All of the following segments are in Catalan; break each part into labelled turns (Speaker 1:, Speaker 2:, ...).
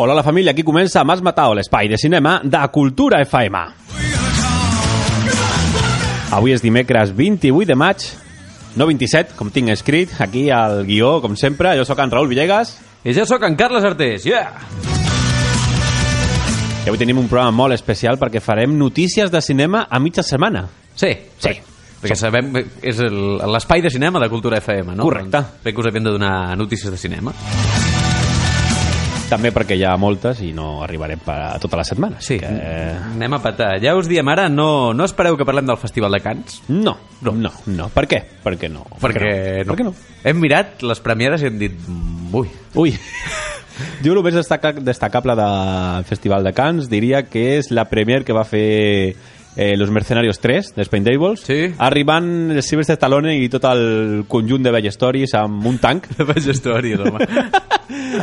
Speaker 1: Hola la família, aquí comença Mas Matao, l'espai de cinema de Cultura FM. Avui és dimecres 28 de maig, no 27, com tinc escrit, aquí al guió, com sempre. Jo sóc en Raül Villegas
Speaker 2: I jo sóc en Carles Artés, yeah!
Speaker 1: i avui tenim un programa molt especial perquè farem notícies de cinema a mitja setmana.
Speaker 2: Sí,
Speaker 1: Sí.
Speaker 2: Perquè sabem que és el- l'espai de cinema de Cultura FM, no?
Speaker 1: Correcte.
Speaker 2: Doncs crec que us havíem de donar notícies de cinema.
Speaker 1: També perquè hi ha moltes i no arribarem per a tota la setmana.
Speaker 2: Sí,
Speaker 1: així Que... eh,
Speaker 2: anem a patar. Ja us diem ara, no, no espereu que parlem del Festival de Cants.
Speaker 1: No, no, no, no. Per què? Per què no?
Speaker 2: Perquè
Speaker 1: Per què no?
Speaker 2: Hem mirat les premiades i hem dit... mm, Ui,
Speaker 1: Ui. Jo el més destaca, destacable del Festival de Cannes diria que és la premier que va fer eh, Los Mercenarios 3, de Spendables,
Speaker 2: Sí.
Speaker 1: arribant els cibers de Stallone i tot el conjunt de Bell Stories amb un tanc.
Speaker 2: la vaig història, home.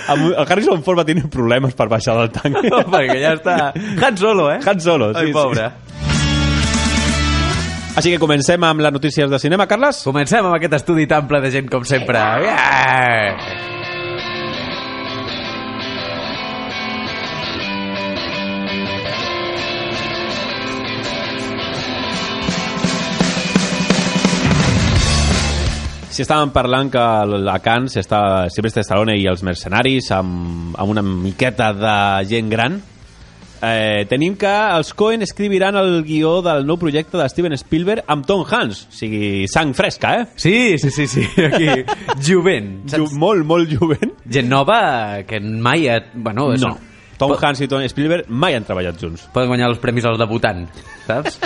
Speaker 1: Amb, el Harrison Ford va tenir problemes per baixar del tanc.
Speaker 2: no, perquè ja està... Han Solo, eh?
Speaker 1: Han Solo, sí,
Speaker 2: Ai, pobre.
Speaker 1: sí. Així que comencem amb les notícies de cinema, Carles.
Speaker 2: Comencem amb aquest estudi tan ple de gent com sempre. Yeah!
Speaker 1: Si estàvem parlant que a Cannes està Sylvester Stallone i els mercenaris amb, amb una miqueta de gent gran, eh, tenim que els Cohen escriviran el guió del nou projecte de Steven Spielberg amb Tom Hanks, o sigui, sang fresca, eh?
Speaker 2: Sí, sí, sí, sí, aquí. Jovent.
Speaker 1: Ju
Speaker 2: Saps?
Speaker 1: molt, molt jovent.
Speaker 2: Gent nova que mai... Ha... Bueno, és-
Speaker 1: No, Tom
Speaker 2: Po-
Speaker 1: Hanks i Tom Spielberg mai han treballat junts.
Speaker 2: Poden guanyar els premis al debutant, saps?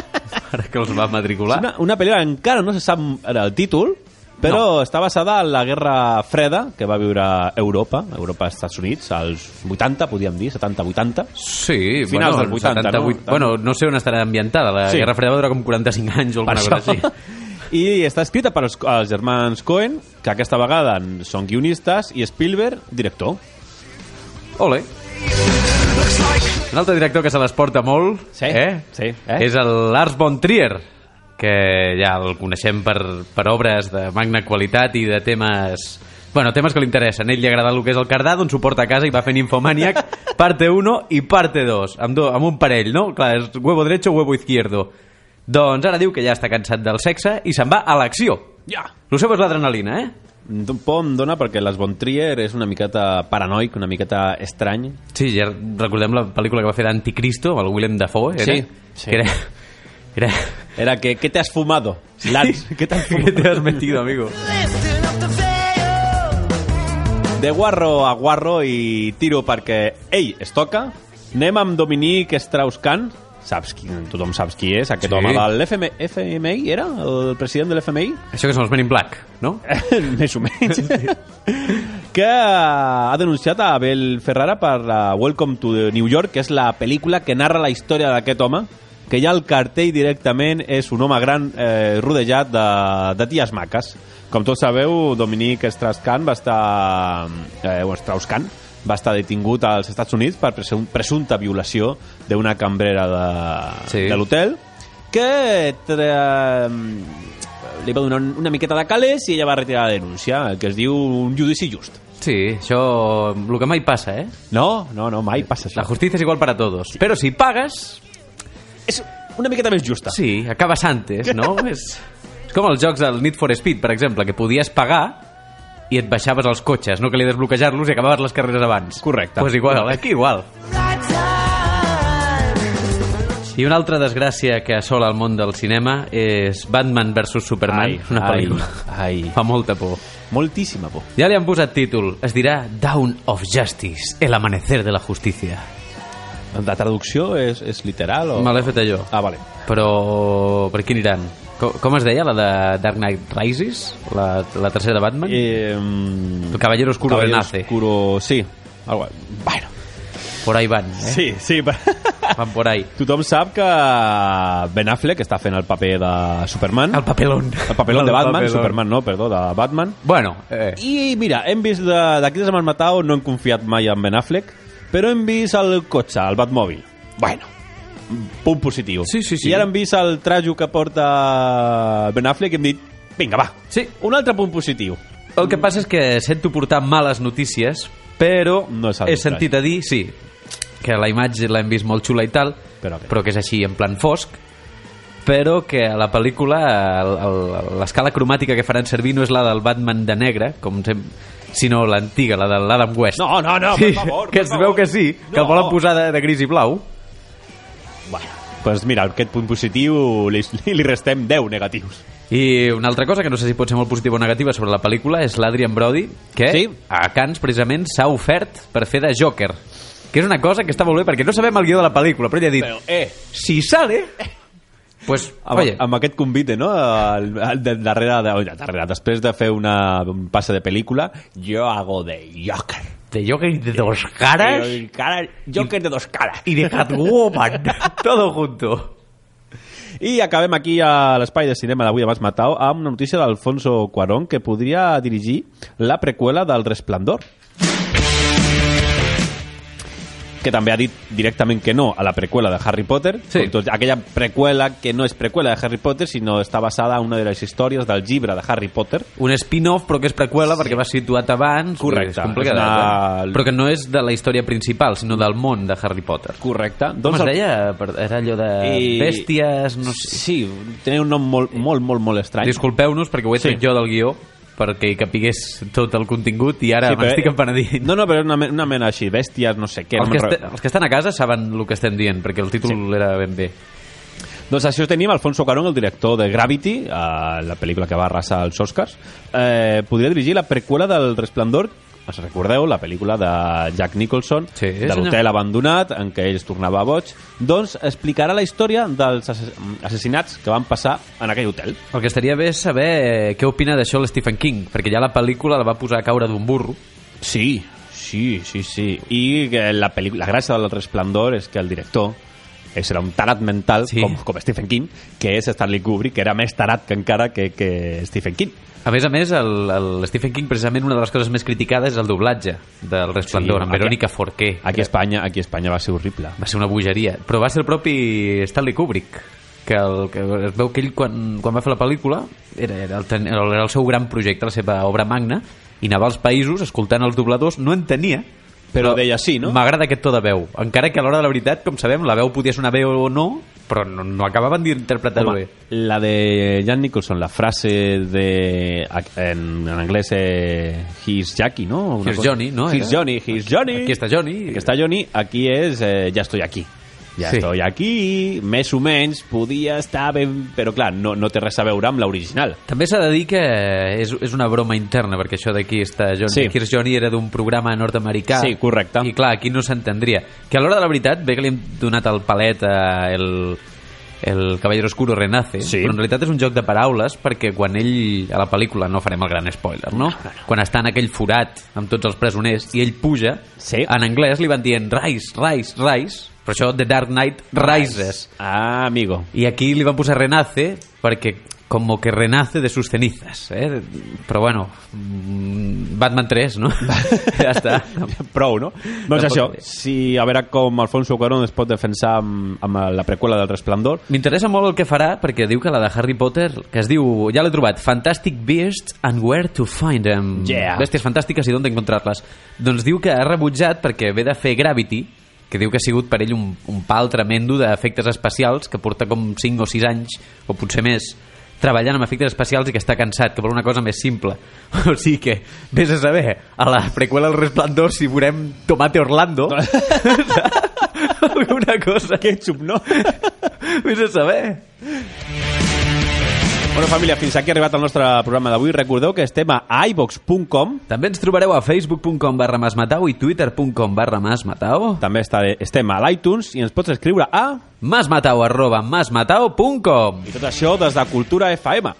Speaker 2: Ara que els va
Speaker 1: És
Speaker 2: matricular.
Speaker 1: una, una pel·lícula que encara no se sap ara el títol, però està basada en la Guerra Freda que va viure Europa, Europa als Estats Units, als 80, podríem dir, 70-80.
Speaker 2: Sí,
Speaker 1: Finals
Speaker 2: bueno,
Speaker 1: dels 80,
Speaker 2: 78.
Speaker 1: no?
Speaker 2: Bueno, no sé on estarà ambientada. La
Speaker 1: Sí.
Speaker 2: Guerra Freda va durar com 45 anys o
Speaker 1: per
Speaker 2: alguna
Speaker 1: això.
Speaker 2: cosa
Speaker 1: I
Speaker 2: així.
Speaker 1: està escrita per als, els germans Cohen, que aquesta vegada en- són guionistes, i Spielberg, director.
Speaker 2: Ole. Un altre director que se les porta molt
Speaker 1: Sí,
Speaker 2: eh?
Speaker 1: sí, eh?
Speaker 2: és el Lars von Trier, que ja el coneixem per, per obres de magna qualitat i de temes... Bueno, temes que li interessen. A ell li agrada el que és el cardà, doncs ho porta a casa i va fent Infomaniac, parte 1 i parte 2, amb, do, amb un parell, no? Clar, és huevo derecho, huevo izquierdo. Doncs ara diu que ja està cansat del sexe i se'n va a l'acció.
Speaker 1: Ja!
Speaker 2: Lo seu és l'adrenalina, eh?
Speaker 1: Un por em dona perquè les Von Trier és una miqueta paranoic, una miqueta estrany.
Speaker 2: Sí, ja recordem la pel·lícula que va fer d'Anticristo, amb el Willem Dafoe, era?
Speaker 1: Sí, sí.
Speaker 2: Que era... era...
Speaker 1: Era que, què t'has fumado? Lance, què t'has
Speaker 2: Que te
Speaker 1: fumado?
Speaker 2: has metido, amigo.
Speaker 1: De guarro a guarro i tiro perquè ell es toca. Anem amb Dominique Strauss-Kahn, saps qui, tothom saps qui és, aquest
Speaker 2: Sí.
Speaker 1: home de l'FMI, era? El president de l'FMI?
Speaker 2: Això que són els Men in Black, no?
Speaker 1: més o menys, que ha denunciat a Abel Ferrara per la Welcome to the New York, que és la pel·lícula que narra la història d'aquest home, que ja el cartell directament és un home gran eh, rodejat de, de ties maques. Com tots sabeu, Dominic Strauss-Kahn va estar... Eh, o Strauss-Kahn va estar detingut als Estats Units per presun- presumpta violació d'una cambrera de,
Speaker 2: Sí.
Speaker 1: de l'hotel que tra- li va donar un- una miqueta de calés i ella va retirar la denúncia, el que es diu un judici just.
Speaker 2: Sí, això... El que mai passa, eh?
Speaker 1: No, no, no, mai passa
Speaker 2: La
Speaker 1: això.
Speaker 2: justícia és igual per a tots. Però si pagues,
Speaker 1: És una miqueta més justa.
Speaker 2: sí, acabes antes, no? és, és com els jocs del Need for Speed, per exemple, que podies pagar i et baixaves els cotxes, no calia desbloquejar-los i acabaves les carreres abans.
Speaker 1: Correcte.
Speaker 2: Pues igual, aquí igual. I una altra desgràcia que assola el món del cinema és Batman vs Superman,
Speaker 1: Ai,
Speaker 2: una
Speaker 1: ai,
Speaker 2: pel·lícula. Ah.
Speaker 1: ai.
Speaker 2: Fa molta por.
Speaker 1: Moltíssima por.
Speaker 2: Ja li han posat títol. Es dirà Down of Justice, el amanecer de la justícia.
Speaker 1: La traducció és, és literal o...?
Speaker 2: Me l'he fet jo.
Speaker 1: Ah, vale.
Speaker 2: Però per quin aniran? Com, com es deia, la de Dark Knight Rises? La, la tercera de Batman?
Speaker 1: Eh,
Speaker 2: El Caballero Oscuro renace.
Speaker 1: Oscuro... Sí. Algo... Bueno.
Speaker 2: Por ahí van, eh?
Speaker 1: Sí, sí.
Speaker 2: Van por ahí.
Speaker 1: Tothom sap que Ben Affleck està fent el paper de Superman.
Speaker 2: El papelón.
Speaker 1: El papelón de
Speaker 2: El
Speaker 1: Batman,
Speaker 2: papelón.
Speaker 1: Superman no, perdó, de Batman.
Speaker 2: Bueno, eh,
Speaker 1: I mira, hem vist de- d'aquí de, de Matau, no hem confiat mai en Ben Affleck, però hem vist el cotxe, el Batmòbil. Bueno, punt positiu.
Speaker 2: Sí, sí, sí.
Speaker 1: I ara hem vist el trajo que porta Ben Affleck i hem dit, vinga, va,
Speaker 2: sí.
Speaker 1: un altre punt positiu.
Speaker 2: El que passa és que sento portar males notícies, però
Speaker 1: No és el
Speaker 2: he
Speaker 1: detall.
Speaker 2: sentit a dir, sí, que la imatge l'hem vist molt xula i tal,
Speaker 1: Però què?
Speaker 2: però que és així en plan fosc, però que a la pel·lícula el- el- l'escala cromàtica que faran servir no és la del Batman de negre, com sem... sinó l'antiga, la de l'Adam West.
Speaker 1: No, Ah, no, no,
Speaker 2: sí,
Speaker 1: per favor,
Speaker 2: que
Speaker 1: per
Speaker 2: es
Speaker 1: favor.
Speaker 2: veu que sí, que
Speaker 1: No.
Speaker 2: el volen posar de, de gris i blau.
Speaker 1: Bueno, doncs mira, aquest punt positiu li, li restem 10 negatius.
Speaker 2: I una altra cosa que no sé si pot ser molt positiva o negativa sobre la pel·lícula és l'Adrian Brody, que
Speaker 1: Sí.
Speaker 2: a Cannes precisament s'ha ofert per fer de Joker. Que és una cosa que està molt bé perquè no sabem el guió de la pel·lícula, però ell ha dit,
Speaker 1: Però, eh,
Speaker 2: si sale, pues,
Speaker 1: amb,
Speaker 2: oye,
Speaker 1: amb aquest convite, no? El, el, de- darrere, de, oi, darrere, després de fer una, un passe de pel·lícula, jo hago de Joker.
Speaker 2: de Joker i de dos caras
Speaker 1: El cara- Joker de dos caras.
Speaker 2: i de Catwoman, todo junto.
Speaker 1: I acabem aquí a l'espai de cinema d'avui de Mas Matau amb una notícia d'Alfonso Cuarón que podria dirigir la preqüela del Resplendor. que també ha dit directament que no a la preqüela de Harry Potter,
Speaker 2: Sí.
Speaker 1: Com tot, aquella preqüela que no és preqüela de Harry Potter, sinó està basada en una de les històries del llibre de Harry Potter,
Speaker 2: Un spin-off, però que és preqüela, perquè va situat abans.
Speaker 1: Correcte.
Speaker 2: És complicat,
Speaker 1: És una-
Speaker 2: eh? Però que no és de la història principal, sinó del món de Harry Potter.
Speaker 1: correcte. Doncs
Speaker 2: Com es
Speaker 1: el-
Speaker 2: deia? Per- Era allò de
Speaker 1: I-
Speaker 2: bèsties, no sé...
Speaker 1: Sí, tenia un nom molt, molt, molt, molt estrany.
Speaker 2: Disculpeu-nos perquè ho he
Speaker 1: Sí.
Speaker 2: tret jo del guió perquè hi capigués tot el contingut i ara
Speaker 1: Sí,
Speaker 2: sí, m'estic
Speaker 1: però- eh,
Speaker 2: empenedint.
Speaker 1: No, no, però era una, me- una mena així, bèsties, no sé què.
Speaker 2: els,
Speaker 1: no
Speaker 2: que
Speaker 1: me'n
Speaker 2: este, els que estan a casa saben el que estem dient perquè el títol sí. era ben bé.
Speaker 1: Doncs això tenim Alfonso Cuarón, el director de Gravity, eh, la pel·lícula que va arrasar els Oscars. Eh, podria dirigir la preqüela del Resplendor, us recordeu, la pel·lícula de Jack Nicholson,
Speaker 2: Sí,
Speaker 1: de
Speaker 2: senyor.
Speaker 1: l'hotel abandonat, en què ell es tornava boig. Doncs explicarà la història dels assass- assassinats que van passar en aquell hotel.
Speaker 2: El que estaria bé és saber eh, què opina d'això l'Stephen King, perquè ja la pel·lícula la va posar a caure d'un burro.
Speaker 1: Sí, sí, sí, sí. I que la, pel·lícula- la gràcia del resplendor és que el director eh, serà un tarat mental,
Speaker 2: Sí.
Speaker 1: sí. com, com Stephen King, que és Stanley Kubrick, que era més tarat que encara que, que Stephen King.
Speaker 2: A més a més, el, el Stephen King precisament una de les coses més criticades és el doblatge del Resplendor,
Speaker 1: Sí,
Speaker 2: sí, amb
Speaker 1: aquí-
Speaker 2: Verónica Forqué.
Speaker 1: Aquí a Espanya, aquí a Espanya va ser horrible.
Speaker 2: Va ser una bogeria. Però va ser el propi Stanley Kubrick que, el, que es veu que ell quan, quan va fer la pel·lícula era, era, el, ten- era el seu gran projecte, la seva obra magna i anava als països escoltant els dobladors no entenia
Speaker 1: Però deia sí, no?
Speaker 2: M'agrada aquest to de veu. Encara que a l'hora de la veritat, com sabem, la veu podia sonar bé o no, però no, no acabaven d'interpretar-ho bé.
Speaker 1: Home, la de Jan Nicholson, la frase de... En, en anglès, eh, he's Jackie, no? Una
Speaker 2: Here's
Speaker 1: cosa-
Speaker 2: Johnny, no?
Speaker 1: He's
Speaker 2: Era-
Speaker 1: Johnny, he's Johnny.
Speaker 2: Aquí està Johnny.
Speaker 1: Aquí està Johnny, aquí és eh, Ja estoy aquí. Ja sí.
Speaker 2: Sí.
Speaker 1: estoy aquí, més o menys, podia estar ben... Però clar, no, no té res a veure amb l'original.
Speaker 2: També s'ha de dir que és, és una broma interna, perquè això d'aquí està Johnny. Sí.
Speaker 1: Sí.
Speaker 2: Here's Johnny era d'un programa nord-americà.
Speaker 1: Sí, correcte.
Speaker 2: I clar, aquí no s'entendria. Que a l'hora de la veritat, bé que li hem donat el palet a el, el Caballero Oscuro Renace,
Speaker 1: Sí.
Speaker 2: però en realitat és un joc de paraules perquè quan ell, a la pel·lícula, no farem el gran spoiler, no? Quan està en aquell forat amb tots els presoners i ell puja,
Speaker 1: Sí.
Speaker 2: en anglès li van dient rise, rise, rise, però això The Dark Knight Rises.
Speaker 1: Ah, amigo.
Speaker 2: Y aquí le iban a poner renace porque como que renace de sus cenizas, ¿eh? Pero bueno, mm, Batman 3, ¿no? ya está.
Speaker 1: Prou, no? Doncs
Speaker 2: Tampoc
Speaker 1: això,
Speaker 2: bé.
Speaker 1: si a veure com Alfonso Cuarón es pot defensar amb, amb la preqüela del Resplendor,
Speaker 2: M'interessa molt el que farà perquè diu que la de Harry Potter, que es diu, ja l'he trobat, Fantastic Beasts and Where to Find Them.
Speaker 1: Yeah.
Speaker 2: Bèsties fantàstiques i d'on encontrar-les. Doncs diu que ha rebutjat perquè ve de fer Gravity, que diu que ha sigut per ell un, un pal tremendo d'efectes especials, que porta com 5 o 6 anys, o potser més, treballant amb efectes especials i que està cansat, que vol una cosa més simple. O sigui que, vés a saber, a la preqüela del Resplandor si veurem Tomate Orlando. Alguna cosa.
Speaker 1: Ketchup, no?
Speaker 2: Vés a saber.
Speaker 1: Bueno, família, fins aquí ha arribat el nostre programa d'avui. Recordeu que estem a ibox.com
Speaker 2: També ens trobareu a facebook.com barra masmatau i twitter.com barra masmatau.
Speaker 1: també està, estem a l'iTunes i ens pots escriure a...
Speaker 2: Masmatau arroba masmatau.com
Speaker 1: I tot això des de Cultura FM.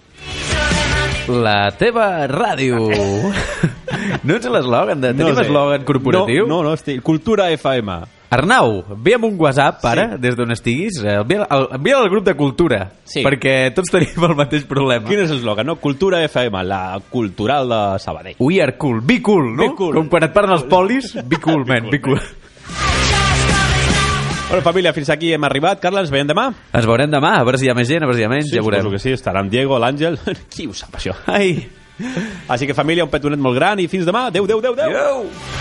Speaker 2: La teva ràdio. no ets l'eslògan de... Tenim
Speaker 1: sé.
Speaker 2: eslògan corporatiu?
Speaker 1: No, no, no estic... Cultura FM.
Speaker 2: Arnau, envia'm un WhatsApp, ara, des d'on estiguis. eh, Envia'l al, envia al grup de cultura,
Speaker 1: Sí.
Speaker 2: perquè tots tenim el mateix problema.
Speaker 1: Quin és l'eslògan, no? Cultura FM, la cultural de Sabadell.
Speaker 2: We are cool. Be cool, no?
Speaker 1: Be cool.
Speaker 2: Com quan et parlen els polis, be cool, man, be cool.
Speaker 1: Bueno, família, fins aquí hem arribat. Carla, ens veiem demà?
Speaker 2: Ens veurem demà, a veure si hi ha més gent, a veure si hi ha menys, ja
Speaker 1: suposo
Speaker 2: veurem.
Speaker 1: que sí, estarà en Diego, l'Àngel... Qui ho sap, això?
Speaker 2: Ai,
Speaker 1: Així que, família, un petonet molt gran i fins demà. Adéu, adéu, adéu, adéu.
Speaker 2: adeu!